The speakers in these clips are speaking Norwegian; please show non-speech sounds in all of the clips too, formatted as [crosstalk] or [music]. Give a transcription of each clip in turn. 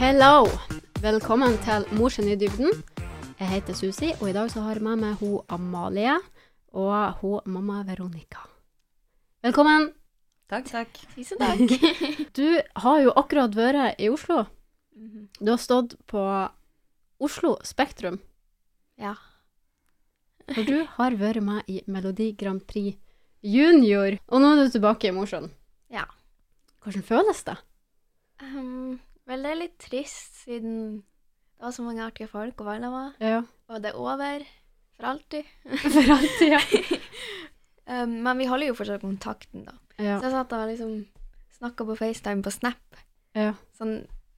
Hello! Velkommen til Morsen i dybden. Jeg heter Susi, og i dag så har jeg med meg hun Amalie og hun mamma Veronica. Velkommen! Takk, takk. Tusen takk. [laughs] Du har jo akkurat vært i Oslo. Mhm. Du har stått på Oslo Spektrum. Ja. For du har vært med i Melodi Grand Prix Junior, og nå er du tilbake i Mosjøen. Ja. Hvordan føles det? Um, vel, det er litt trist siden det var så mange artige folk og medlemmer, Ja, og det er over for alltid. [laughs] for alltid, ja. [laughs] Um, men vi holder jo fortsatt kontakten, da. ja. Så jeg satt og liksom snakka på FaceTime på Snap Ja. sånn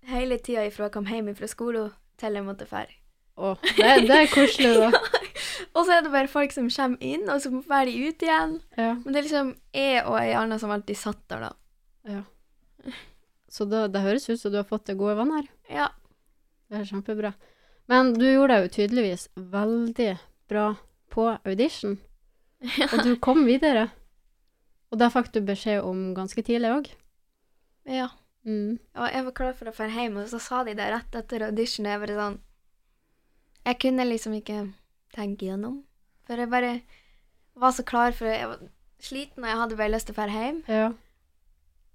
hele tida ifra jeg kom hjem fra skolen til jeg måtte dra. Å, det, det er koselig, [laughs] da. Og så er det bare folk som kommer inn, og så drar de ut igjen. Ja. Men det er liksom jeg og ei anna som alltid satt der, da. Så det, det høres ut som du har fått deg gode venner. Ja. Det er kjempebra. Men du gjorde deg jo tydeligvis veldig bra på audition, og du kom videre. Og det fikk du beskjed om ganske tidlig òg. ja. Mm. Og jeg var klar for å dra hjem, og så sa de det rett etter audition. og Jeg bare sånn Jeg kunne liksom ikke tenke gjennom. For jeg bare var så klar for Jeg var sliten, og jeg hadde bare lyst til å dra hjem. Ja.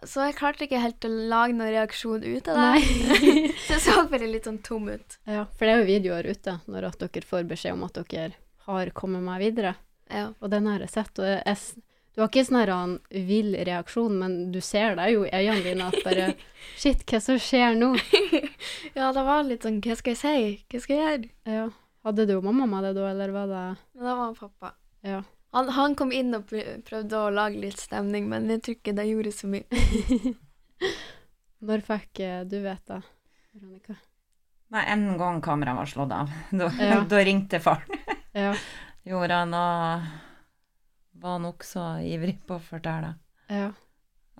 Så jeg klarte ikke helt å lage noen reaksjon ut av [laughs] det. Nei. Så jeg så bare litt sånn tom ut. ja. For det er jo videoer ute når at dere får beskjed om at dere har kommet meg videre. Ja. Og den har jeg sett. Og jeg, jeg s- du har ikke sånn her en vill reaksjon, men du ser det jo i øynene dine at [laughs] bare Shit, hva som skjer nå? ja, det var litt sånn Hva skal jeg si? Hva skal jeg gjøre? Ja. Hadde du mamma med deg da, eller var det Men da var pappa. Ja. Han, han kom inn og pr- prøvde å lage litt stemning, men jeg tror ikke det gjorde så mye. Når fikk eh, du vite det, Veronica? Nei, en gang kameraet var slått av, [laughs] da, Ja. da ringte faren. Ja. [laughs] Gjorde han og var nokså ivrig på å fortelle. Ja.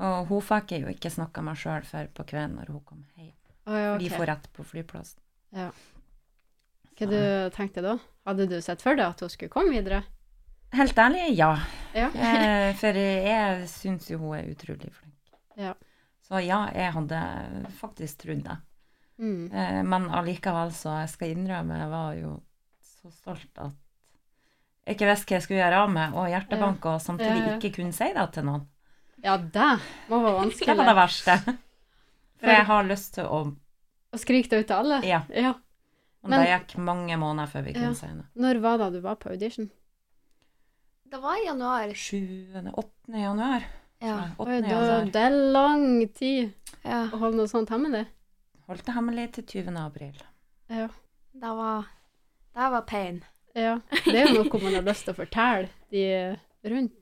Og hun fikk jeg jo ikke snakka med sjøl før på kvelden når hun kom hjem. Å, ja, De ok. får rett på flyplassen. Hva du tenkte du da? Hadde du sett for deg at hun skulle komme videre? Helt ærlig, ja. [laughs] Ja. Eh, For jeg syns jo hun er utrolig flink. Ja. Så ja, jeg hadde faktisk trodd det. Mm. Eh, Men allikevel, så jeg skal innrømme, jeg var jo så stolt at jeg ikke visste hva jeg skulle gjøre av meg, og hjertebank, og samtidig Ja, ja. ikke kunne si det til noen. Ja, det må være Det var det vanskelig. [laughs] verste. For jeg har lyst til å Å skrike det ut til alle. Ja. Ja. Men det gikk mange måneder før Ja. vi kunne si det. Når var det du var på audition? Det var i januar. 7.-8. januar. Ja. Nei, 8. Oi, da, januar. det er lang tid ja. å holde noe sånt hemmelig. Holdt det hemmelig til 20. april. Ja. Det var, det var pain. ja. Det er jo noe man har lyst til å fortelle de rundt.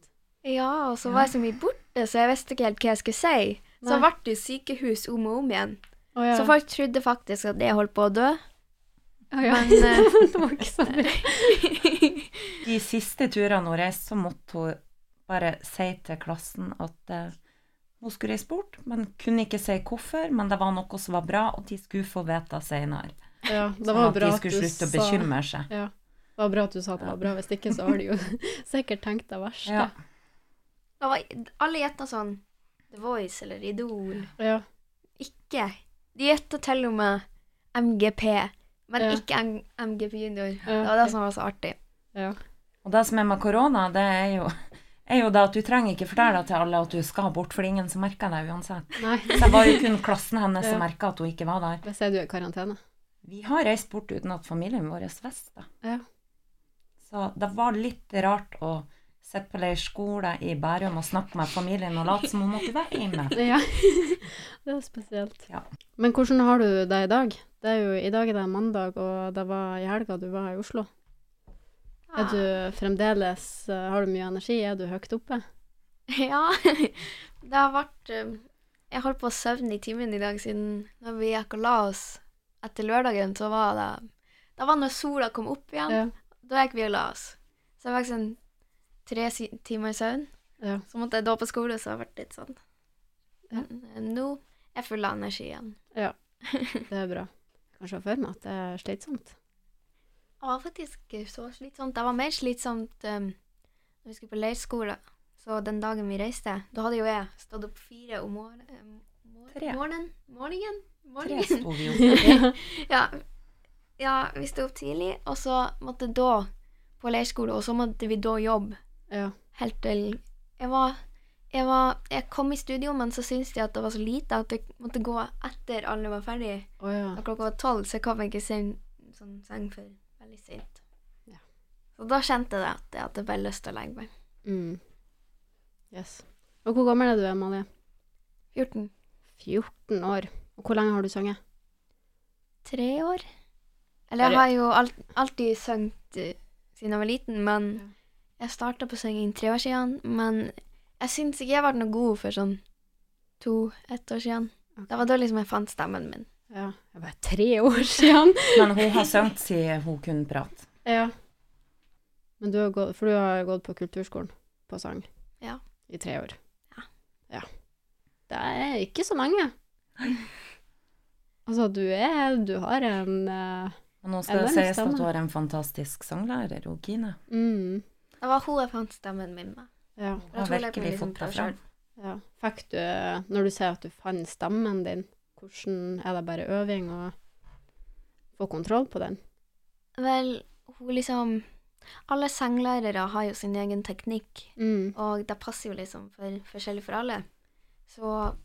Ja, og så Ja. var jeg så mye borte, så jeg visste ikke helt hva jeg skulle si. Så Nei. ble det jo sykehus om og om igjen. Å, ja. Så folk trodde faktisk at jeg holdt på å dø. Å, [laughs] ja. Men, eh, [laughs] det var ikke så bra. [laughs] De siste turene hun reiste, så måtte hun bare si til klassen at eh, hun skulle reise bort, men kunne ikke si hvorfor. Men det var noe som var bra, og de skulle få vite det senere. Ja, det Sånn var bra at de at du skulle slutte å sa- bekymre seg. Ja. Det var bra at du sa at det var bra. Hvis ikke, så har de jo [laughs] sikkert tenkt det verste. Ja. Det var, alle gjetta sånn The Voice eller Idol. Ja. Ikke. De gjetta til og med MGP, men Ja. ikke M MGP Junior. Ja, Det var det ok. som var så artig. Og det som er med korona, det er jo, er jo det at du trenger ikke fortelle til alle at du skal bort, for det er ingen som merker deg uansett. Nei, Så det var jo kun klassen hennes Ja. som merka at hun ikke var der. hvis jeg du er i karantene. Vi har reist bort uten at familien vår visste det. Ja. Så det var litt rart å sitte på leirskole i Bærum og snakke med familien og late som om hun ikke var [laughs] hjemme. [laughs] Ja, det er spesielt. Ja. Men hvordan har du det i dag? Det er jo, I dag er det mandag, og det var i helga du var i Oslo. Er du fremdeles eh, Har du mye energi? Er du høyt oppe? [laughs] Ja. Det har vært um, Jeg holdt på å søvne i timen i dag, siden når vi gikk og la oss etter lørdagen, så var det Det var når sola kom opp igjen. Ja. Da gikk vi og la oss. Så jeg fikk sånn tre si timer søvn. Ja. Så måtte jeg da på skole, så jeg ble litt sånn. Ja. Men eh, nå er jeg full av energi igjen. Det er bra. Kanskje jeg føler meg at det er slitsomt. Det var faktisk ikke så slitsomt. Det var mer slitsomt um, når vi skulle på leirskole. Så den dagen vi reiste, da hadde jo jeg stått opp fire om morgenen, mor- Tre. Morgenen? Morgenen? Tre Morgenen? sto vi jo. Ja. [laughs] Ja. ja, vi sto opp tidlig, og så måtte da på leirskole, og så måtte vi da jobbe ja. helt til jeg var, jeg var Jeg kom i studio, men så syntes de at det var så lite at jeg måtte gå etter alle var ferdige. Å ja. Da klokka var tolv, så jeg kom ikke i sen, sånn seng før veldig sent. Ja. Så da kjente jeg at jeg hadde bare lyst til å legge meg. Mm. Yes. Og hvor gammel er du, Amalie? 14. 14 år. Og hvor lenge har du sunget? Tre år? Eller Bare- jeg har jo alt, alltid sunget eh, siden jeg var liten, men jeg starta på synging tre år siden, men jeg syns ikke jeg ble noe god for sånn to-ett år siden. Ok. Det var da liksom jeg fant stemmen min. Ja, jeg var tre år siden. Men hun har sunget siden hun kunne prate. ja. Men du har gått, for du har gått på kulturskolen på sang Ja. i tre år. Ja. ja. Det er ikke så mange. Altså, du er Du har en eh, Men nå skal Ja, det det er litt sies at hun spennende. har en fantastisk sanglærer, hun Kine. mm, Det var hun jeg fant stemmen min med. ja, Hun Jeg har tror jeg kunne virkelig liksom fått det prøve fram. ja. Fikk du Når du sier at du fant stemmen din, hvordan er det bare øving å få kontroll på den? Vel, hun liksom Alle sanglærere har jo sin egen teknikk. Mm. Og det passer jo liksom for, forskjellig for alle. Så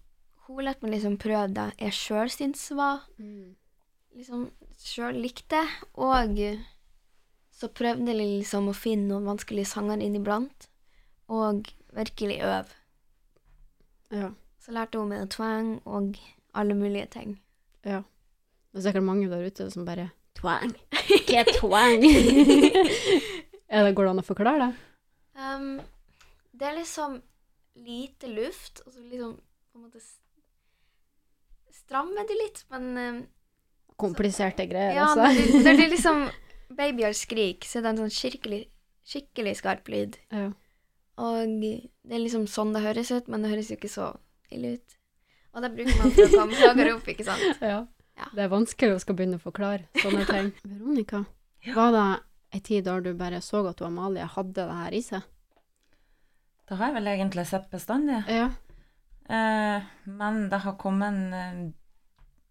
hun lærte meg liksom prøve det jeg sjøl syntes var liksom sjøl likte. Og så prøvde jeg liksom å finne noen vanskelige sanger inniblant. Og virkelig øve. Ja. Så lærte hun meg twang og alle mulige ting. Det er sikkert mange der ute som bare Twang! Ikke twang! er det, går det an å forklare det? Ehm, det er liksom lite luft, og så liksom på en måte s- strammer det litt, men ehm, Kompliserte greier, Ja, når altså. [laughs] det, når det liksom babyer skriker, så er det en sånn skikkelig, skikkelig skarp lyd. Ja. Og det er liksom sånn det høres ut, men det høres jo ikke så ille ut. Og det bruker man for å komme høyere opp, ikke [laughs] sant? ja. Ja. Det er vanskelig å skal begynne å forklare sånne ting. [laughs] Veronica, Ja. var det ei tid da du bare så at du, Amalie hadde det her i seg? Det har jeg vel egentlig sett bestandig. Ja. Eh, men det har kommet eh,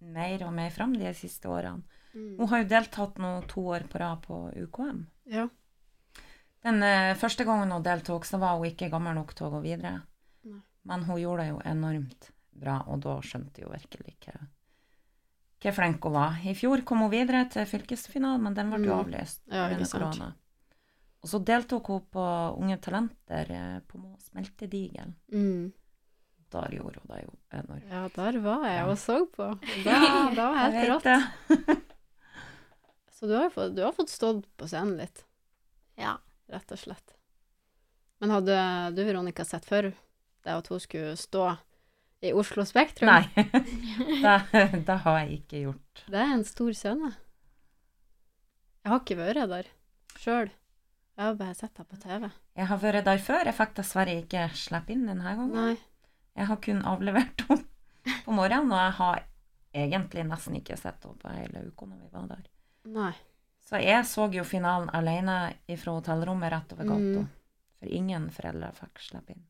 mer og mer fram de siste årene. Mm. Hun har jo deltatt nå to år på rad på UKM. ja. Den eh, første gangen hun deltok, så var hun ikke gammel nok til å gå videre. Nei. Men hun gjorde det jo enormt bra, og da skjønte jeg jo virkelig ikke hvor flink hun var. I fjor kom hun videre til fylkesfinalen, men den ble jo Mm. avlyst Ja, pga. ikke sant. korona. Og så deltok hun på Unge Talenter eh, på Mo- Smeltedigel. Mm. Der gjorde hun det jo enormt. ja, der var jeg Ja. og så på. Da, [laughs] da var helt Jeg vet rått. det. Så du har, jo fått, du har fått stått på scenen litt. Ja. rett og slett. Men hadde du, Veronica, sett før det at hun skulle stå i Oslo Spektrum? Nei, [laughs] det, det har jeg ikke gjort. Det er en stor scene. Jeg har ikke vært der sjøl. Jeg har bare sett det på TV. Jeg har vært der før. Jeg fikk dessverre ikke slippe inn denne gangen. Nei. Jeg har kun avlevert henne på morgenen, og jeg har egentlig nesten ikke sett henne på hele uka når vi var der. Nei. Så jeg så jo finalen alene fra hotellrommet rett over gata. Mm. For ingen foreldre fikk slippe inn.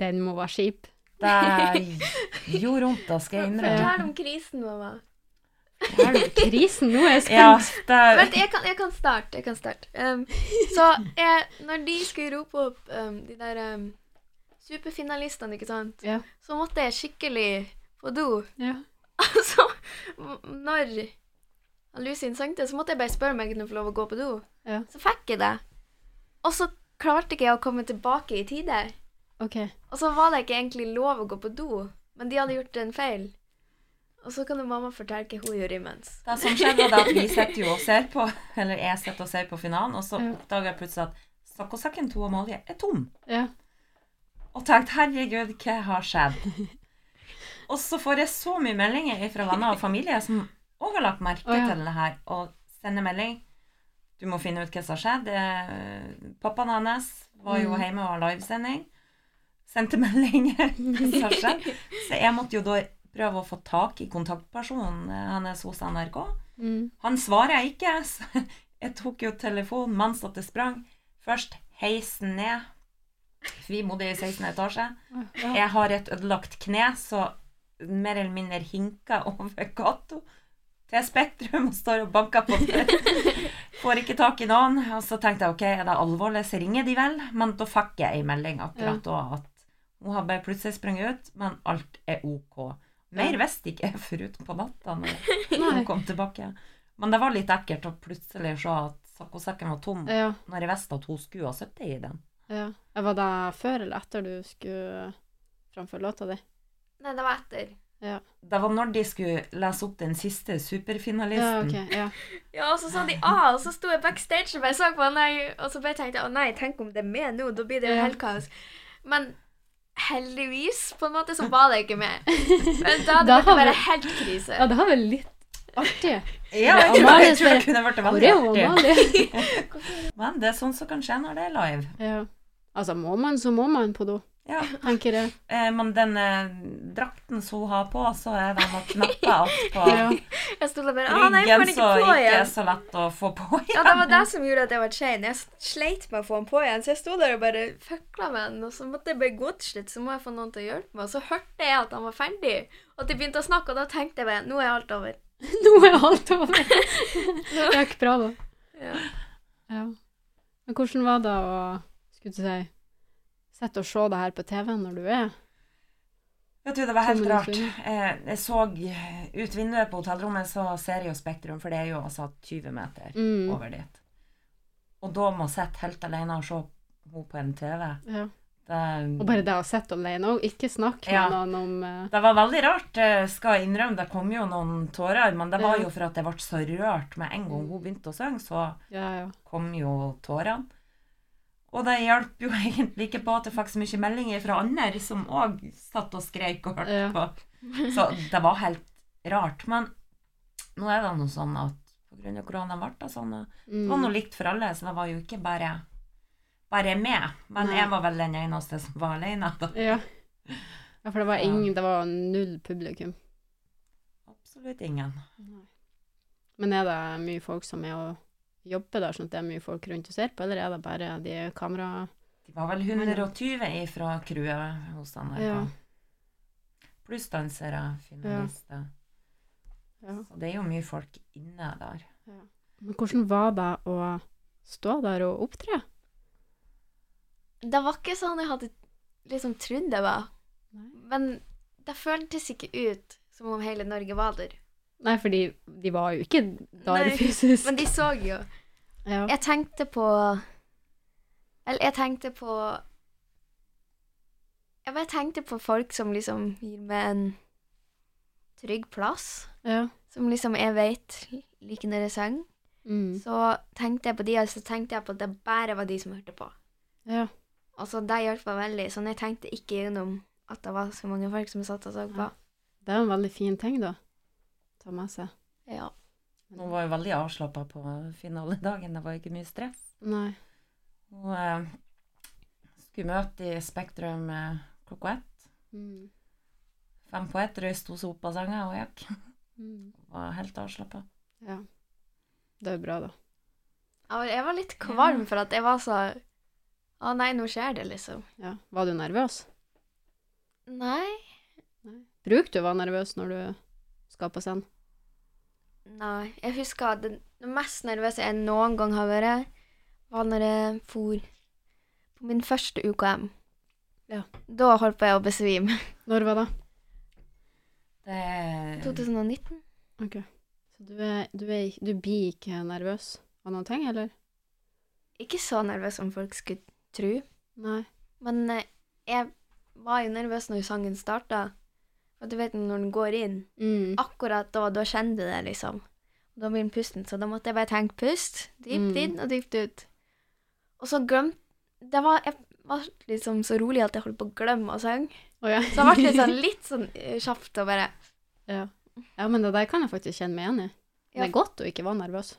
Den må være kjip. Det gjorde vondt, da skal jeg innrømme. Fortell om krisen, mamma. Er du krisen nå? Jeg er Ja, spent. det, Vent, jeg kan, jeg kan starte. Jeg kan starte. Um, så jeg, når de skulle rope opp um, de der um, superfinalistene, ikke sant, Ja. så måtte jeg skikkelig på do. Ja. [laughs] Altså, m- når Lucien sang det, så måtte jeg bare spørre om jeg kunne få lov å gå på do. Ja. Så fikk jeg det. Og så klarte ikke jeg å komme tilbake i tide. OK. Og så var det ikke egentlig lov å gå på do, men de hadde gjort en feil. Og så kan jo mamma fortelle hva hun gjorde imens. det som skjedde, var at vi sitter jo og ser på, eller jeg sitter og ser på finalen, og så Ja. oppdager jeg plutselig at stakkosekken til Amalie er tom. Ja. og tenkte 'herregud, hva [laughs] har skjedd?' og så får jeg så mye meldinger fra venner og familie som òg har lagt merke Å, ja. til det her, og sender melding 'Du må finne ut hva som har skjedd'. Eh, Pappaen hennes var jo Mm. hjemme og har livesending. Sendte [laughs] meldinger hva som har [laughs] skjedd. Så jeg måtte jo da prøve å få tak i kontaktpersonen eh, hennes hos NRK. Mm. Han svarer ikke, så [laughs] jeg tok jo telefonen mens at det sprang. Først heisen ned. Vi bodde i 16. etasje. Ja. Jeg har et ødelagt kne, så mer eller mindre hinka over gata til Spektrum og står og banker på døra. Får ikke tak i noen. Og så tenkte jeg ok, er det alvorlig, så ringer de vel. Men da fikk jeg ei melding akkurat da at hun har bare plutselig sprunget ut, men alt er ok. Mer visste ikke jeg forut på natta når hun Nei. kom tilbake. Men det var litt ekkelt å plutselig se at saccosekken var tom, Ja, når jeg visste at hun skulle ha sittet i den. ja. Var det før eller etter du skulle framføre låta di? Nei, det var etter. Det var når de skulle lese opp den siste Ja, superfinalisten. ok. Ja. Ja, og så sa de A, og så sto jeg backstage og bare så på han der, og så bare tenkte jeg å nei, tenk om det er med nå, da blir det jo Ja. helt kaos. Men heldigvis, på en måte, så var det ikke [laughs] med. Men da Da hadde det vært har bare vi- helt krise. ja, det var vel litt artig. Ja, jeg tror, Amalie jeg tror det spør, kunne vært Hvor veldig er hun, artig. Amalie? Men det er sånn som kan skje når det er live. [laughs] Ja. Altså, må man, så må man på do, Ja, tenker jeg. eh, Men den eh, drakten som hun har på, så er den med knapper att på [laughs] Ja. Jeg sto der bare Å nei, jeg ryggen, får den så ikke på ikke er [laughs] igjen. så lett å få på Ja, igjen. det var det som gjorde at jeg var chain. Jeg sleit med å få den på igjen, så jeg sto der og bare fuckla med den, og så måtte jeg bare gå til slutt, så må jeg få noen til å hjelpe meg. Og så hørte jeg at han var ferdig, og at de begynte å snakke, og da tenkte jeg bare nå er alt over. Nå er alt over. Det gikk bra, da. Ja. Ja. Men hvordan var det å skulle du si, sette og se det her på TV når du er Vet du, det var helt Kommer du rart. til? Eh, Jeg så ut vinduet på hotellrommet, så ser jeg jo Spektrum, for det er jo altså 20 meter mm. over dit. Og da må jeg sitte helt alene og se henne på en TV. ja. Og Det, bare det å sitte alene og ikke snakke med Ja. noen om eh, det var veldig rart, eh, skal jeg innrømme. Det kom jo noen tårer, men det var jo for at jeg ble så rørt med en Mm. gang hun begynte å synge, så Ja, ja. kom jo tårene. Og det hjalp jo [laughs] egentlig ikke på at jeg fikk så mye meldinger fra andre som òg satt og skreik og hørte Ja. på. Så det var helt rart. Men nå er det noe sånn at pga. korona ble det sånn. og Det var Mm. noe likt for alle, så det var jo ikke bare bare meg. Men Nei. jeg var vel den eneste som var alene. Da. ja. Ja, for det var Ja. ingen Det var null publikum. Absolutt ingen. Men er det mye folk som er og jobber der, sånn at det er mye folk rundt og ser på, eller er det bare de kamera... De var vel 120 ifra crewet hos NRK. Ja. Pluss dansere, finalister. Ja. Så det er jo mye folk inne der. Men hvordan var det å stå der og opptre? Det var ikke sånn jeg hadde liksom trodd det var. Nei. Men det føltes ikke ut som om hele Norge var der. Nei, fordi de var jo ikke der Nei, fysisk. Men de så jo. Ja. Jeg tenkte på Eller jeg tenkte på Jeg bare tenkte på folk som liksom gir meg en trygg plass. Ja. Som liksom jeg veit liker når jeg sang. Mm. Så tenkte jeg på de, og så tenkte jeg på at det bare var de som hørte på. ja. Altså, det hjalp meg veldig. Sånn, jeg tenkte ikke gjennom at det var så mange folk som satt og så på. Det er jo en veldig fin ting, da. Ta med seg. Ja. Hun var jo veldig avslappa på finaledagen. Det var ikke mye stress. Nei. Hun eh, skulle møte i Spektrum eh, klokka ett. Mm. Fem på ett. Røys sto seg opp av senga og gikk. Mm. Var helt avslappa. Ja. Det er jo bra, da. Jeg var- Jeg var litt kvalm for at jeg var så Å nei, nå skjer det, liksom. Ja. Var du nervøs? Nei. Bruk du å være nervøs når du skal på scenen? Nei. Jeg husker at det, det mest nervøse jeg noen gang har vært, var når jeg for på min første UKM. Ja. Da holdt på jeg å besvime. Når var det? Det 2019. Ok. Så du, er, du, er, du blir ikke nervøs av noen ting, eller? Ikke så nervøs som folk skulle tro. Nei. Men eh, jeg var jo nervøs når sangen starta. Og du vet når den går inn. Mm. akkurat da, da kjente jeg det, liksom. Da blir den pusten, så da måtte jeg bare tenke pust, dypt Mm. inn og dypt ut. Og så glemte det var, Jeg var liksom så rolig at jeg holdt på å glemme å synge. Å, ja. Så jeg ble litt [laughs] sånn, litt sånn eh, kjapt og bare ja. ja, men det der kan jeg faktisk kjenne meg igjen i. Ja. Det er godt å ikke være nervøs.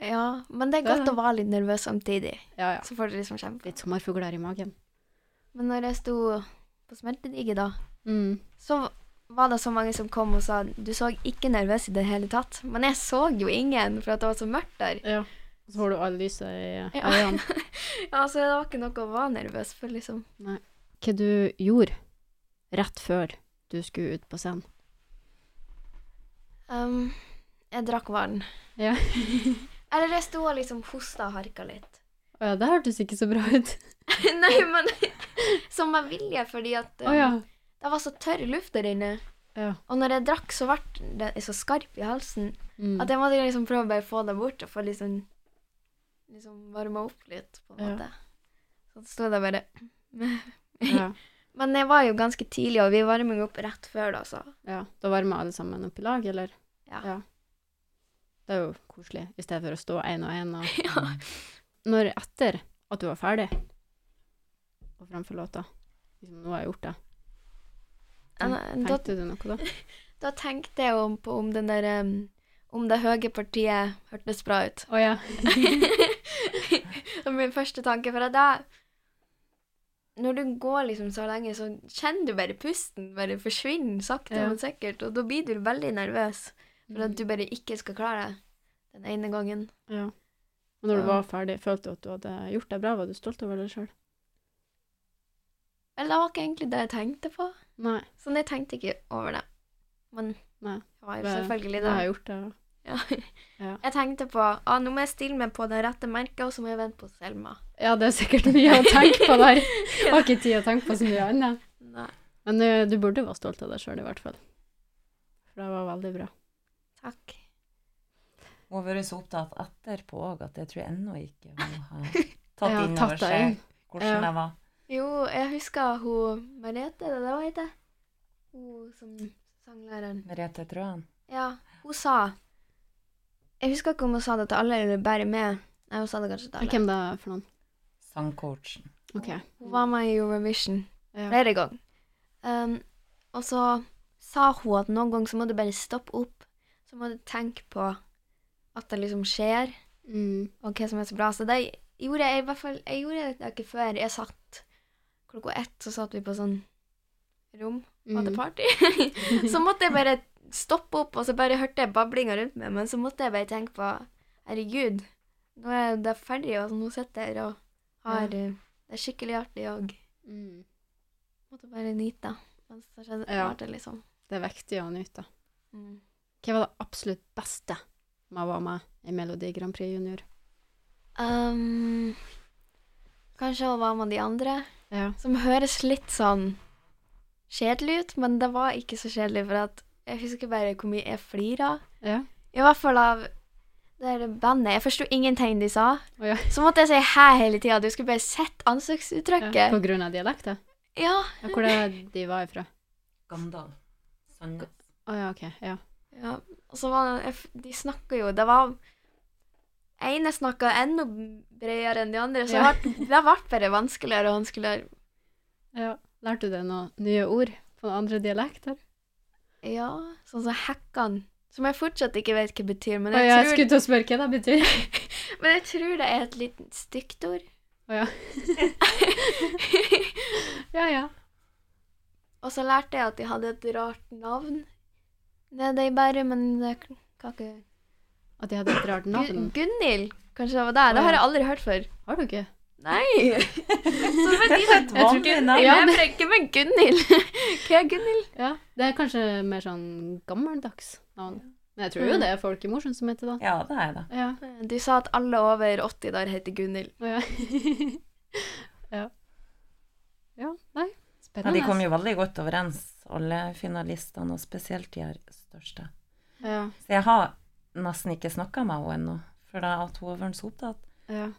Ja. Men det er Det er godt det. å være litt nervøs samtidig. Ja, ja. Så får du liksom kjempe. Litt sommerfugler i magen. Men når jeg sto på smeltedigget, da, Mm. så var det så mange som kom og sa du så ikke nervøs i det hele tatt. Men jeg så jo ingen, for at det var så mørkt der. Ja. Og så får du all lyset i Ja. [laughs] øynene. Ja, Så det var ikke noe å være nervøs for, liksom. Hva du gjorde rett før du skulle ut på scenen? Um, jeg drakk vann. Ja. [laughs] Eller jeg sto og liksom hosta og harka litt. [laughs] Å ja, det hørtes ikke så bra ut. Nei, men [laughs] som med vilje, fordi at Å ja. um, det var så tørr luft der inne. Ja. Og når jeg drakk, så ble det så skarp i halsen Mm. at jeg måtte liksom prøve å bare få det bort og få liksom, liksom varma opp litt, på en Ja. måte. Så sto det bare [laughs] ja. Men jeg var jo ganske tidlig, og vi varmer jo opp rett før, da, så ja. Da varmer alle sammen opp i lag, eller? Ja. Det er jo koselig, i stedet for å stå én og én og Når etter at du var ferdig og framfor låta liksom, Nå har jeg gjort det. Ja, Tenk- men eh, da, Tenkte du noe da? da tenkte jeg om på om den der em, Om det høye partiet hørtes bra ut. [laughs] Å ja. Det var min første tanke, for at da Når du går liksom så lenge, så kjenner du bare pusten bare forsvinner sakte, Ja. men sikkert, og da blir du veldig nervøs for at du bare ikke skal klare det den ene gangen. ja. Og når du Ja. var ferdig, følte du at du hadde gjort deg bra? Var du stolt over deg sjøl? Eller det var ikke egentlig det jeg tenkte på, Nei. så jeg tenkte ikke over det. Men Nei. det var jo Bare, selvfølgelig Nå det. har jeg gjort det. Ja. Ja. Jeg tenkte på ah, nå må jeg stille meg på det rette merket, og så må jeg vente på Selma. Ja, det er sikkert mye å tenke på der. Jeg har ikke tid å tenke på så mye annet. Nei, Men ø, du burde være stolt av deg sjøl, i hvert fall. For det var veldig bra. takk. Hun har vært så opptatt etterpå òg at jeg tror ennå ikke [laughs] hun har tatt Ja, inn tatt over det seg inn. hvordan Ja. det var. Jo, jeg husker hun Merete, er det det hun heter? Hun som sanglæreren. Merete Trøen. Ja, hun sa Jeg husker ikke om hun sa det til alle eller bare meg. Nei, hun sa det kanskje til alle. Hvem da for noen? Sangcoachen. OK. Hun var med i Eurovision Ja. flere ganger. Um, og så sa hun at noen ganger så må du bare stoppe opp. Så må du tenke på at det liksom skjer. Mm. og hva som er så bra. Så det gjorde jeg i hvert fall Jeg gjorde det ikke før jeg satt klokka ett, så satt vi på sånn rom og hadde Mm. party. [laughs] så måtte jeg bare stoppe opp, og så bare hørte jeg bablinga rundt meg, men så måtte jeg bare tenke på Herregud, nå er det ferdig, og nå sitter jeg her og har eh, det er skikkelig artig, og Mm. måtte bare nyte det. Mens det skjedde, Ja. varte, liksom. Det er viktig å nyte. Mm. Hva var det absolutt beste med å være med i Melodi Grand Prix Junior? Um, kanskje å være med de andre. Ja. Som høres litt sånn kjedelig ut, men det var ikke så kjedelig, for at jeg husker bare hvor mye jeg flira. Ja. I hvert fall av det der bandet. Jeg forsto ingenting de sa. Å ja. Så måtte jeg si hæ hele tida. Du skulle bare sett ansiktsuttrykket. På grunn av dialekten? Ja. Ja, hvor er de var ifra? Gamdal. Sandnes. Å ja, OK. Ja. ja. Og så var det jeg f- De snakka jo Det var ene snakka enda bredere enn de andre, så Ja. det ble- det ble bare vanskeligere og vanskeligere. ja. Lærte du deg noen nye ord på noen andre dialekter? Ja. Sånn som hekkan, som jeg fortsatt ikke vet hva betyr, men Å jeg ja, jeg tror skulle til å spørre hva det betyr. [laughs] Men jeg tror det er et litt stygt ord. Ja, ja. [laughs] Og så lærte jeg at de hadde et rart navn nede i Bærum, men det kan ikke At de hadde et rart Gu- navn. Gunhild, kanskje det var deg? Det har jeg aldri hørt før. Har du ikke? Nei! Så det var de [laughs] som Et tror vanlig ikke- navn. Ja, Ja, jeg brekker med Gunhild. [laughs] Hva er Gunhild? Ja. Det er kanskje mer sånn gammeldags navn. Men jeg tror Mm. jo det er folk i Mosjøen som heter det. Ja, det er det. Ja. Du sa at alle over 80 der heter Gunhild. Å ja. [laughs] ja. Ja, nei. Ja, Spennende. de kom jo veldig godt overens, alle finalistene, og spesielt de her største. Ja, Så jeg har nesten ikke snakka med henne ennå, for da at hun har vært så opptatt. ja.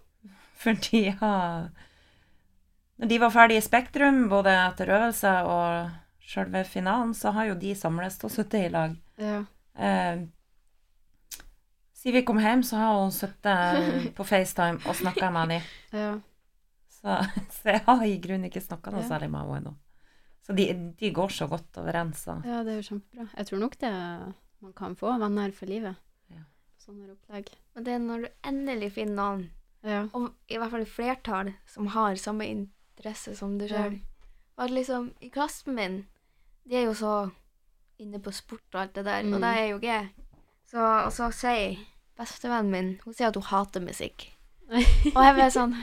For de har Når de var ferdig i Spektrum, både etter øvelse og sjølve finalen, så har jo de samles og sittet i lag. ja. Eh, Siden vi kom hjem, så har hun sittet på FaceTime og snakka med dem. ja. Så, så jeg har i grunnen ikke snakka noe Ja. særlig med henne ennå. Så de, de går så godt overens. Så. Ja, det er jo kjempebra. Jeg tror nok det man kan få venner for livet. Ja. Sånne opplegg. Og det er når du endelig finner noen, Ja. og i hvert fall et flertall, som har samme interesse som du Ja. sjøl. At liksom, I klassen min, de er jo så inne på sport og alt det der, Mm. og det er jo ikke jeg. Så, og så sier bestevennen min Hun sier at hun [laughs] hater musikk. og jeg blir sånn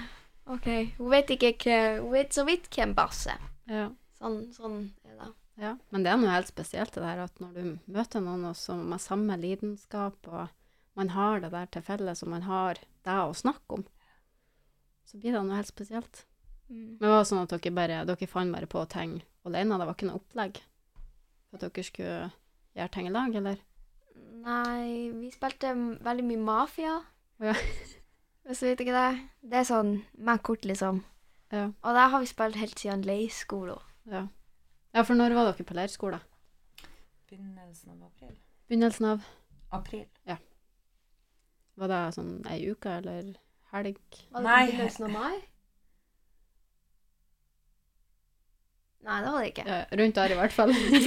OK, hun vet ikke hva Hun vet så vidt hvem bass er. ja. Sånn, sånn er det. Ja, men det er noe helt spesielt det der at når du møter noen og som har samme lidenskap, og man har det der til felles, og man har det å snakke om, så blir det noe helt spesielt. Mm. Men det var sånn at dere bare, dere fant bare på ting alene, det var ikke noe opplegg for at dere skulle gjøre ting i lag, eller? Nei, vi spilte m- veldig mye Mafia. Å ja. [laughs] Hvis du vet ikke det. Det er sånn med kort, liksom. Ja. Og der har vi spilt helt siden leirskolen. Ja. ja, for når var dere på leirskole? Begynnelsen av april. Begynnelsen av, April. var det sånn ei uke eller helg? Var det Nei. på begynnelsen av mai? Nei, det var det ikke. Ja, rundt der i hvert fall. Du,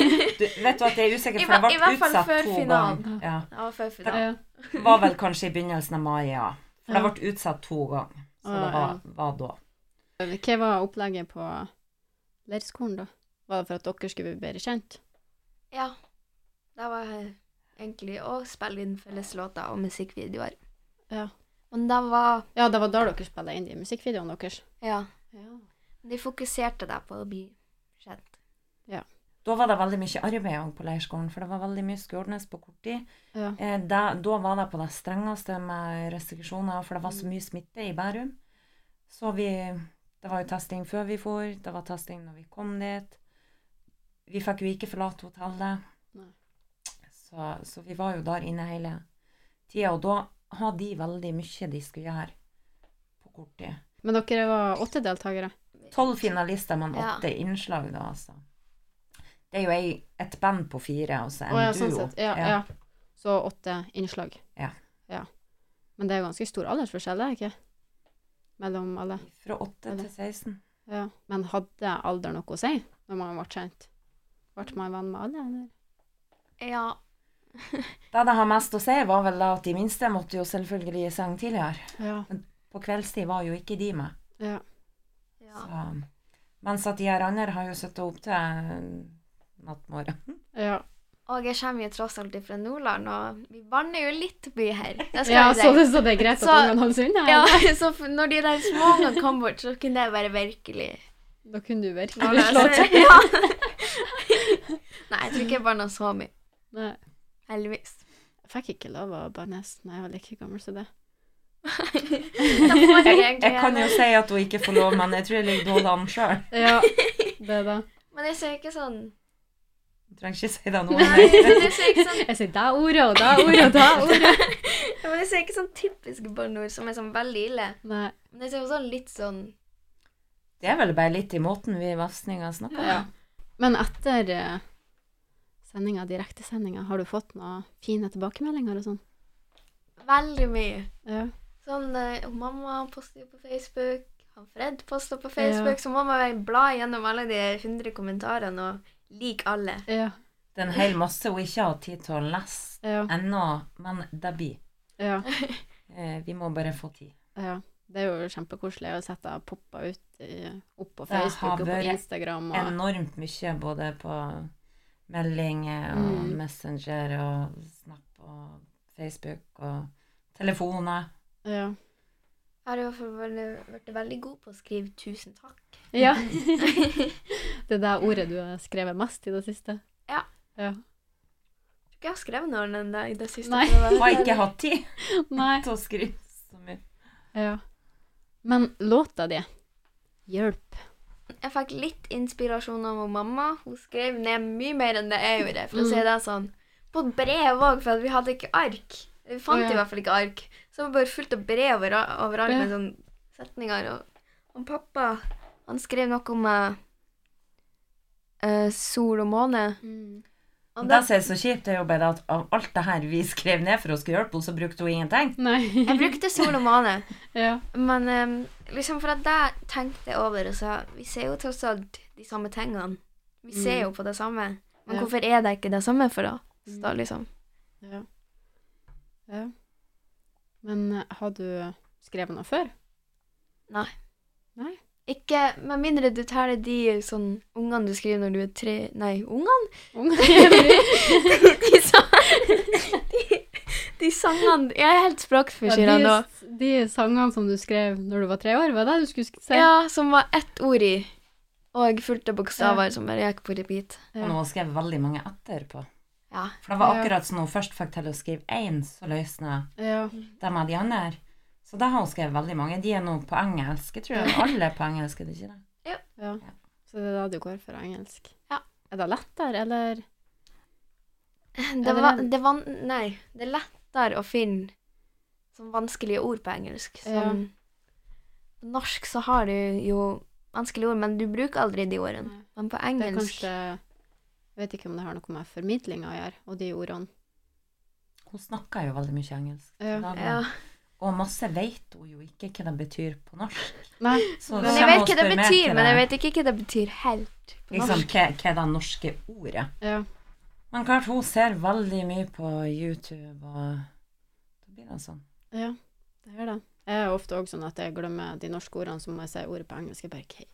vet du at jeg er usikker, I for jeg hver- i ble hvert fall utsatt før to finalen. ganger. Ja. [laughs] Det var [laughs] før ja, finalen. ja. Det var vel kanskje i begynnelsen av mai, ja. For jeg Ja. ble utsatt to ganger. Så Ah, det var, var da. Hva var opplegget på leirskolen, da? Var det for at dere skulle bli bedre kjent? Ja. Det var eh, egentlig å spille inn felles låter og musikkvideoer. Ja. Men det var Ja, det var da dere spilte inn de musikkvideoene deres. Ja. Ja. De fokuserte deg på å bli kjent. Da var det veldig mye arbeid også på leirskolen, for det var veldig mye skulle ordnes på kort tid. Ja. Eh, da, da var det på det strengeste med restriksjoner, for det var så mye smitte i Bærum. Så vi Det var jo testing før vi for, det var testing når vi kom dit. Vi fikk jo ikke forlate hotellet. Nei. Så, så vi var jo der inne hele tida, og da hadde de veldig mye de skulle gjøre på kort tid. Men dere var åtte deltakere. Tolv finalister, men Ja. åtte innslag, da, altså. Det er jo ei, et band på fire, og så en Å ja, duo. sånn sett. Ja, ja. Så åtte innslag. Ja. ja. Men det er jo ganske stor aldersforskjell, er det ikke? Mellom alle. Fra 8 til 16. Ja. Men hadde alder noe å si når man ble kjent? Ble man venn med alle, eller? Ja. Det det har mest å si, var vel da at de minste måtte jo selvfølgelig i seng tidligere. Ja. På kveldstid var jo ikke de med. ja. ja. Så, mens at de her andre har jo sittet opp til eh, [laughs] nattmorgen. ja. Og jeg kommer jo tross alt fra Nordland, og vi banner jo litt mye her. Det skal ja vi så, si. så det er greit at Så- ungene holder seg unna? Ja, [laughs] eller? så f- når de der små ungene kom bort, så kunne det være virkelig Da kunne du Nå virkelig slå løser til. det. [laughs] Ja. Nei, jeg tror ikke jeg banna så mye. Nei. [laughs] Heldigvis. Jeg fikk ikke lov å bannes da jeg var like gammel som det. [laughs] Da får jeg Jeg, egentlig jeg kan jo gjerne. si at hun ikke får lov, men jeg tror jeg ligger dårlig an sjøl. Ja, det da. Men jeg ser ikke sånn Trenger ikke si det nå. Nei, men jeg ser ikke sånn, Jeg sier da ordet og [laughs] da ordet [laughs] og da ordet. men jeg ser ikke sånn typisk banneord som er sånn veldig ille. Nei. Men jeg ser jo sånn litt sånn Det er vel bare litt i måten vi vestninger snakker på. Ja. Men etter eh, sendinga, direktesendinga, har du fått noen fine tilbakemeldinger og sånn? veldig mye. Ja. Sånn, eh, og Mamma poster jo på Facebook, han Fred poster på Facebook, så mamma vil bla gjennom alle de 100 kommentarene og like alle. Ja. Det er en hel masse hun ikke har tid til å lese Ja. ennå, men det blir. ja. Eh, Vi må bare få tid. ja. Det er jo kjempekoselig å sette deg poppa ut i, opp på Det har Facebook og på vært Instagram. Og, enormt mye både på meldinger og Mm. Messenger og Snap og Facebook og telefoner. ja. Jeg har i hvert fall vært- vært veldig god på å skrive 'tusen takk'. [laughs] ja. det er det ordet du har skrevet mest i det siste? Ja. ja. Jeg tror ikke jeg har skrevet noe enn det i det siste. [laughs] Nei. for å være Jeg har helt ikke ærlig. hatt tid Nei. til å skrive så mye. Ja. Men låta di, 'Hjelp', Jeg fikk litt inspirasjon av hun mamma. Hun skrev ned mye mer enn det jeg gjorde. For å Mm. si det sånn. På brev òg, for at vi hadde ikke ark. Vi fant Å, ja. i hvert fall ikke ark. Så det var bare fullt av brev overa- overalt Ja. med sånne setninger. Og, og pappa, han skrev noe om eh, eh, sol og måne. Mm. Og Det da- som er så kjipt, er jo bare at av alt det her vi skrev ned for å skulle hjelpe henne, så brukte hun ingenting. Nei. jeg brukte sol og måne. [laughs] ja. Men ehm, liksom for at jeg tenkte jeg over og sa Vi ser jo tross alt de samme tingene. Vi Mm. ser jo på det samme. Men Ja. hvorfor er det ikke det samme for oss? Mm. Da, liksom. Ja. ja. Men eh, har du skrevet noe før? Ikke med mindre du teller de sånn ungene du skriver når du er tre Nei, ungene? [laughs] [laughs] Ung? De, sa, de, de sangene Jeg er helt språkforskylda nå. Ja, de, de sangene som du skrev når du var tre år, var det du skulle sk- si? Ja, som var ett ord i. Og fulgte bokstaver som bare gikk på repeat. Og nå har hun skrevet veldig mange etterpå. Ja. For det var Ja. akkurat som hun først fikk til å skrive én, så løsna Ja. de av de andre. Så da har hun skrevet veldig mange. De er nå på engelsk. Jeg tror alle er på engelsk, er det ikke det? ja. Så det er da du går for engelsk. Ja. Er det lettere, eller Det Ja, det var, er- det var Nei, det er lettere å finne sånn vanskelige ord på engelsk. Som, På norsk så har du jo vanskelige ord, men du bruker aldri de ordene. Nei. Men på Det er engelsk kanskje Jeg vet ikke om det har noe med formidling å gjøre, og de ordene. Hun snakker jo veldig mye engelsk. så Ja. da var- ja. Og masse vet hun jo ikke hva det betyr på norsk. Nei. Så Men jeg kommer vet hun hva det spør mer betyr, til men det. jeg vet ikke hva det betyr helt på liksom, norsk. hva, hva er det norske ordet? Ja. Men klart, hun ser veldig mye på YouTube, og da blir det sånn. ja. Det er det. Jeg er ofte òg sånn at jeg glemmer de norske ordene, så må jeg si ordet på engelsk. Jeg bare "Hva-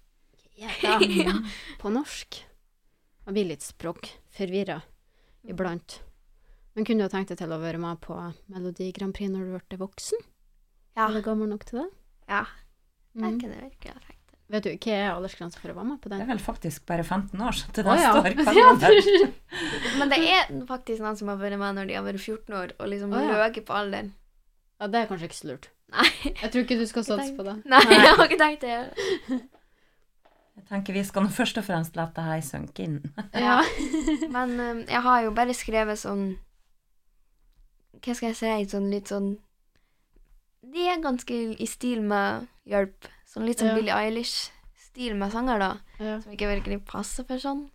hva er [laughs] det?" På norsk. Jeg blir litt språkforvirra iblant. Men kunne du ha tenkt deg til å være med på Melodi Grand Prix når du ble voksen? Ja. Er du gammel nok til det? Ja. Mm. Det kunne jeg virkelig ha tenkt. Vet du hva er aldersgrensa for å være med på Det [laughs] den? er vel faktisk bare 15 år, så til Å, det [laughs] ja. står kalender. Men det er faktisk noen som har vært med når de har vært 14 år, og liksom Å, ja. løket på alderen. [laughs] Ja, det er kanskje ikke så lurt. Nei. Jeg tror ikke du skal satse på det. Nei, jeg har ikke tenkt det. Jeg tenker vi skal nå først og fremst la det her synke inn. Ja. [laughs] Men eh, jeg har jo bare skrevet sånn Hva skal jeg si? Sånn litt sånn De er ganske i stil med hjelp. Sånn litt sånn Ja. Billie Eilish-stil med sanger, da. Ja. Som ikke virkelig passer for sånn.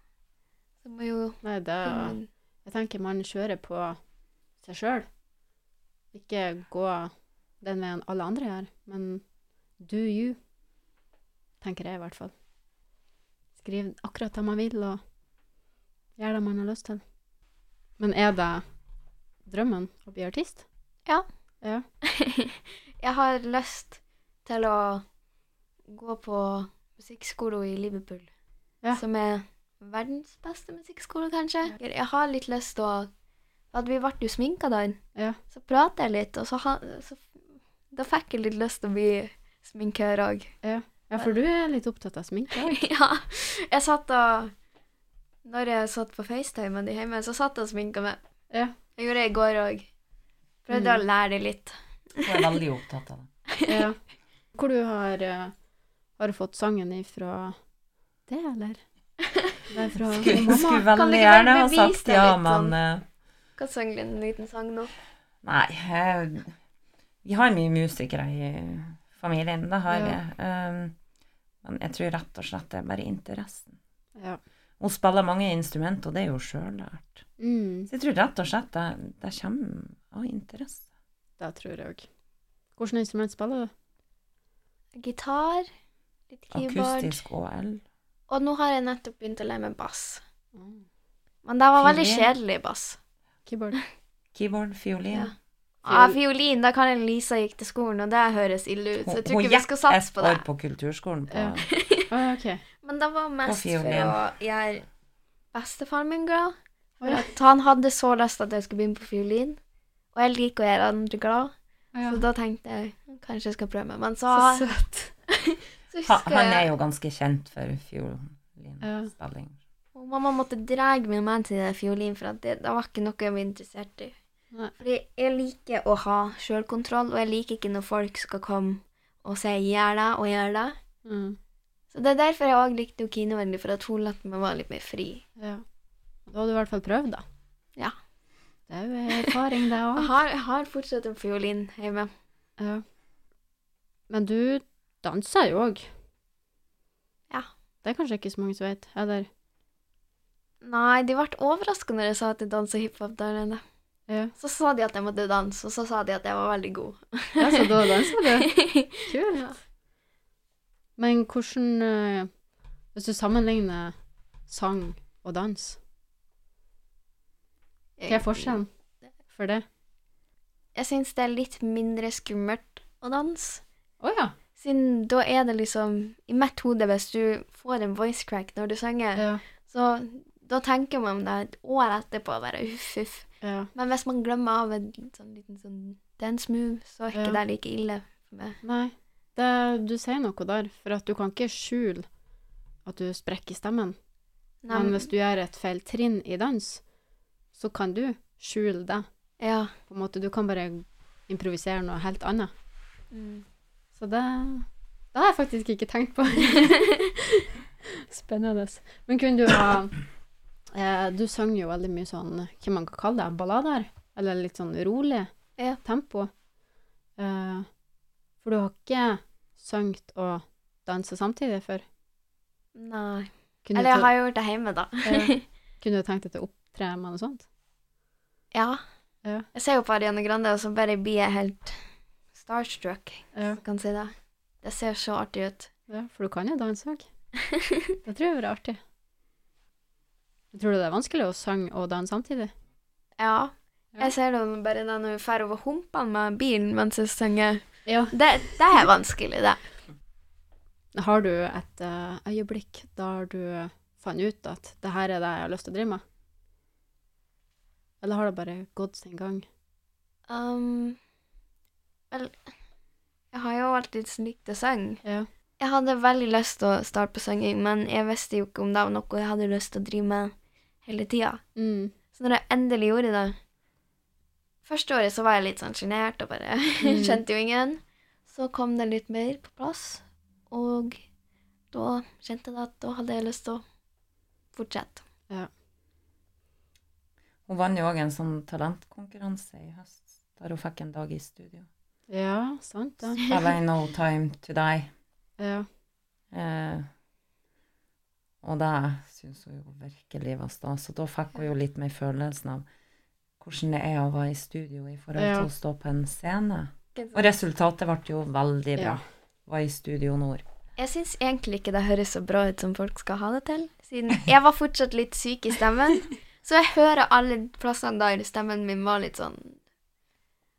Så må jo Nei, det finne en- Jeg tenker man kjører på seg sjøl. Ikke gå den veien alle andre gjør, men do you, tenker jeg i hvert fall. Skriv akkurat det man vil, og gjør det man har lyst til. Men er det drømmen å bli artist? Jeg har lyst til å gå på musikkskole i Liverpool. Ja. Som er verdens beste musikkskole, kanskje. Jeg har litt lyst til å at Vi ble jo sminka da. Ja. Så prater jeg litt, og så, ha, så Da fikk jeg litt lyst til å bli sminkør òg. Ja, for du er litt opptatt av sminke. også. [laughs] ja. Jeg satt og Når jeg satt på FaceTime med de hjemme, så satt jeg og sminka meg. Ja. Jeg gjorde det i går òg. Prøvde Mm. å lære det litt. Hun er veldig opptatt av det. Ja. Hvor du har, eh, har du fått sangen ifra det, eller? Det er fra Skulle, skulle mamma. kan veldig du ikke bare gjerne ha bevise sagt det ja, litt men sånn? eh, Kan synge en liten sang nå. Nei. Jeg, vi har mye musikere i familien, det har Ja. vi. Um, men jeg tror rett og slett det er bare interessen. Ja. Hun spiller mange instrumenter, og det er jo sjøllært. Mm. Så jeg tror rett og slett det, det kommer av interesse. Det tror jeg òg. Hvilket instrument spiller du? Gitar, litt keyboard. Akustisk og el. Og nå har jeg nettopp begynt å lære meg bass. Mm. Men det var veldig Fiolin. kjedelig bass. [laughs] Keyboard. Keyboard, fiolin. Ja. Ja, fiolin, da kan jeg Lisa gikk til skolen, og det høres ille ut, så jeg tror ikke vi skal satse på det. år på kulturskolen på Ja. Ah, ok. Men det var mest for fiolin. å gjøre bestefaren min glad. For at han hadde så lyst at jeg skulle begynne på fiolin, og jeg liker å gjøre andre glad, så da tenkte jeg kanskje jeg skal prøve meg. Men så, [laughs] Så søt. så Ha, husker han er jeg jo ganske kjent for Ja. fiolinspilling. og Mamma måtte dra meg med til det fiolin, for at det, det var ikke noe jeg var interessert i. Nei. Fordi jeg liker å ha sjølkontroll, og jeg liker ikke når folk skal komme og si 'gjør det' og 'gjør det'. Mm. Så Det er derfor jeg òg likte jo Kine veldig, for at hun lot meg være litt mer fri. Ja. Da har du i hvert fall prøvd, da. Ja. Det er jo erfaring, det Jeg òg. har, jeg har fortsatt en fiolin hjemme. [laughs] Ja. Men du danser jo òg. Ja. Det er kanskje ikke så mange som vet. Eller Nei, de ble overraska når jeg sa at jeg dansa hiphop der nede. Ja, Så sa de at jeg måtte danse, og så sa de at jeg var veldig god. ja så da danser [laughs] [laughs] du. Kult. Men hvordan eh, Hvis du sammenligner sang og dans, hva er forskjellen for Eh, det? Jeg syns det er litt mindre skummelt å danse. Å ja. Siden da er det liksom I mitt hode, hvis du får en voice crack når du synger, ja. Så da tenker man det et år etterpå bare uff, uff. Ja. Men hvis man glemmer av en sånn liten sånn dance move, så er ikke Ja. det like ille for meg. Nei, det, du sier noe der, for at du kan ikke skjule at du sprekker stemmen. Nei, Men hvis du gjør et feil trinn i dans, så kan du skjule det. Ja. På en måte, du kan bare improvisere noe helt annet. Mm. Så det, det har jeg faktisk ikke tenkt [laughs] på. Spennende. Men kunne du ha eh, Du sang jo veldig mye sånn hva man kan kalle det, ballader? Eller litt sånn rolig Ja. tempo. Eh, for du har ikke sunget og dansa samtidig før? Nei. Kunne, Eller jeg du, har jo gjort det hjemme, da. [laughs] eh, kunne du tenkt deg til å opptre med noe sånt? Ja. Ja. Jeg ser jo på Ariana Grande, og så bare blir jeg helt starstruck. Ja. hvis jeg Kan si det. det ser så artig ut. [laughs] Ja, for du kan jo danse òg. Det tror jeg ville vært artig. Tror du det er vanskelig å synge og danse samtidig? Ja. Ja. Jeg ser det bare da når hun drar over humpene med bilen mens hun synger. Ja. Det, det er vanskelig, det. Har du et eh, øyeblikk der du fant ut at det her er det jeg har lyst til å drive med? Eller har det bare gått sin gang? Um, vel, jeg har jo alltid likt å synge. Ja. Jeg hadde veldig lyst til å starte på synging, men jeg visste jo ikke om det var noe jeg hadde lyst til å drive med hele tida. Mm. Så når jeg endelig gjorde det Første året så var jeg litt sånn sjenert og bare [laughs] Mm. kjente jo ingen. Så kom det litt mer på plass, og da kjente jeg at da hadde jeg lyst til å fortsette. Hun vant jo òg en sånn talentkonkurranse i høst, der hun fikk en dag i studio. ja, sant det. Spiller i No Time To Die. Ja. Eh, og det syns hun jo virkelig var stas. Og da fikk hun jo litt mer følelsen av hvordan det er å være i studio i forhold Ja. til å stå på en scene. Og resultatet ble jo veldig bra. Ja. Var i Studio Nord. Jeg syns egentlig ikke det høres så bra ut som folk skal ha det til, siden jeg var fortsatt litt syk [laughs] i stemmen. Så jeg hører alle plassene der stemmen min var litt sånn,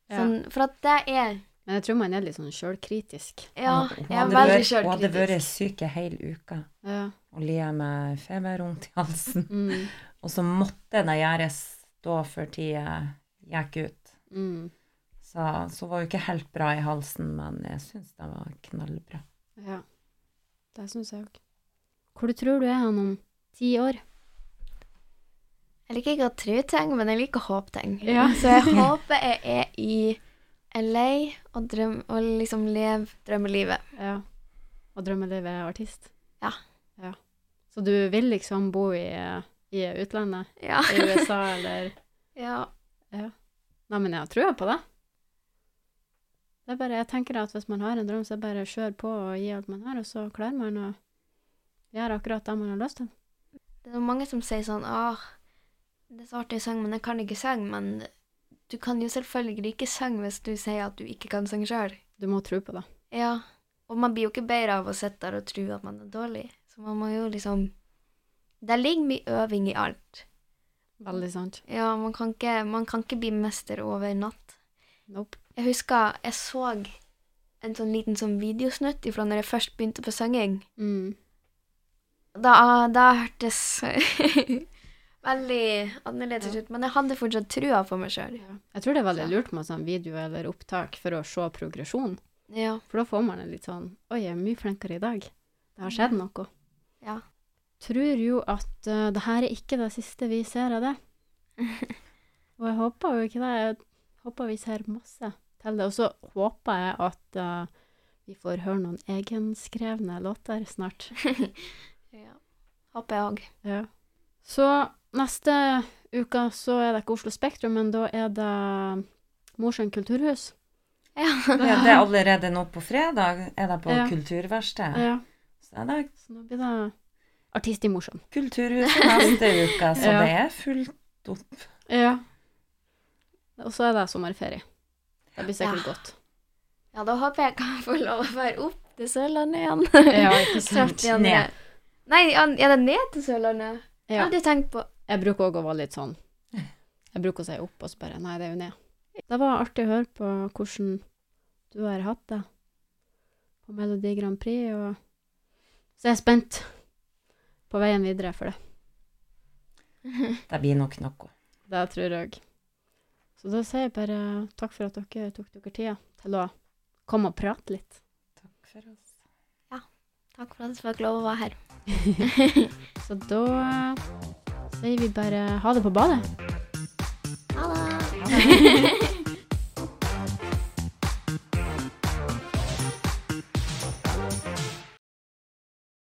ja. sånn For at det er Men jeg tror man er litt sånn sjølkritisk. Ja, Hun jeg er hadde veldig vært- Hun hadde vært sjølkritisk. syk ei hel uke Ja. og lia med feber rundt i halsen. [laughs] Mm. Og så måtte det gjøres da før tida gikk ut. Mm. Så, så var jo ikke helt bra i halsen, men jeg syns det var knallbra. Ja. Det syns jeg òg. Hvor du tror du er han om ti år? Jeg liker ikke å tro ting, men jeg liker å håpe ting. Ja. [laughs] Så jeg håper jeg er i LA og, drøm, og liksom lever drømmelivet. Ja. Og drømmelivet er artist? Ja. ja. Så du vil liksom bo i, i utlandet? Ja. [laughs] I USA eller [laughs] ja. Nei, men jeg har trua på det. Det er bare, jeg tenker at Hvis man har en drøm, så er det bare å kjøre på og gi alt man har, og så klarer man å gjøre akkurat det man har lyst til. Det er mange som sier sånn Åh, det er så artig å synge, men jeg kan ikke synge. Men du kan jo selvfølgelig ikke synge hvis du sier at du ikke kan synge sjøl. Du må tro på det. Ja. Og man blir jo ikke bedre av å sitte der og tro at man er dårlig. Så man må jo liksom Det ligger mye øving i alt. Veldig sant. Ja, man kan ikke, man kan ikke bli mester over natt. Nope. Jeg husker jeg så en sånn liten sånn videosnutt ifra når jeg først begynte på synging. Mm. Da, da hørtes [laughs] veldig annerledes ut, men jeg hadde fortsatt trua på meg sjøl. Jeg tror det er veldig Så. lurt med sånn video eller opptak for å se progresjon, Ja. for da får man en litt sånn Oi, jeg er mye flinkere i dag. Det har skjedd noe. Ja. Tror jo at eh, det her er ikke det siste vi ser av det. Og jeg håper jo ikke det. Jeg håper vi ser masse til det. Og så håper jeg at eh, vi får høre noen egenskrevne låter snart. ja. Håper jeg òg. Ja. Så neste uke så er det ikke Oslo Spektrum, men da er det Mosjøen kulturhus. [laughs] Ja. Det det er allerede nå på fredag, er det på Ja. Kulturverkstedet. Ja. Så er det Så nå blir det artist i Mosjøen. Kulturhuset neste uke, så Ja. det er fullt opp. Ja. Og så er det sommerferie. Det blir sikkert godt. ja, da håper jeg kan få lov å være opp til Sørlandet igjen. [laughs] [laughs] Ja, [laughs] ikke Straff sant. de andre. Ned. Nei, an- er det ned til Sørlandet? Jeg Ja. hadde tenkt på Jeg bruker òg å være litt sånn Jeg bruker å si opp og så bare Nei, det er jo ned. Det var artig å høre på hvordan du har hatt det på Melodi Grand Prix, og så jeg er spent på veien videre for det. Det blir nok noe. Det tror jeg òg. Så da sier jeg bare takk for at dere tok dere tida til å komme og prate litt. Takk for oss. Takk for at jeg fikk lov å være her. Så da sier vi bare ha det på badet. Ha det! Ja.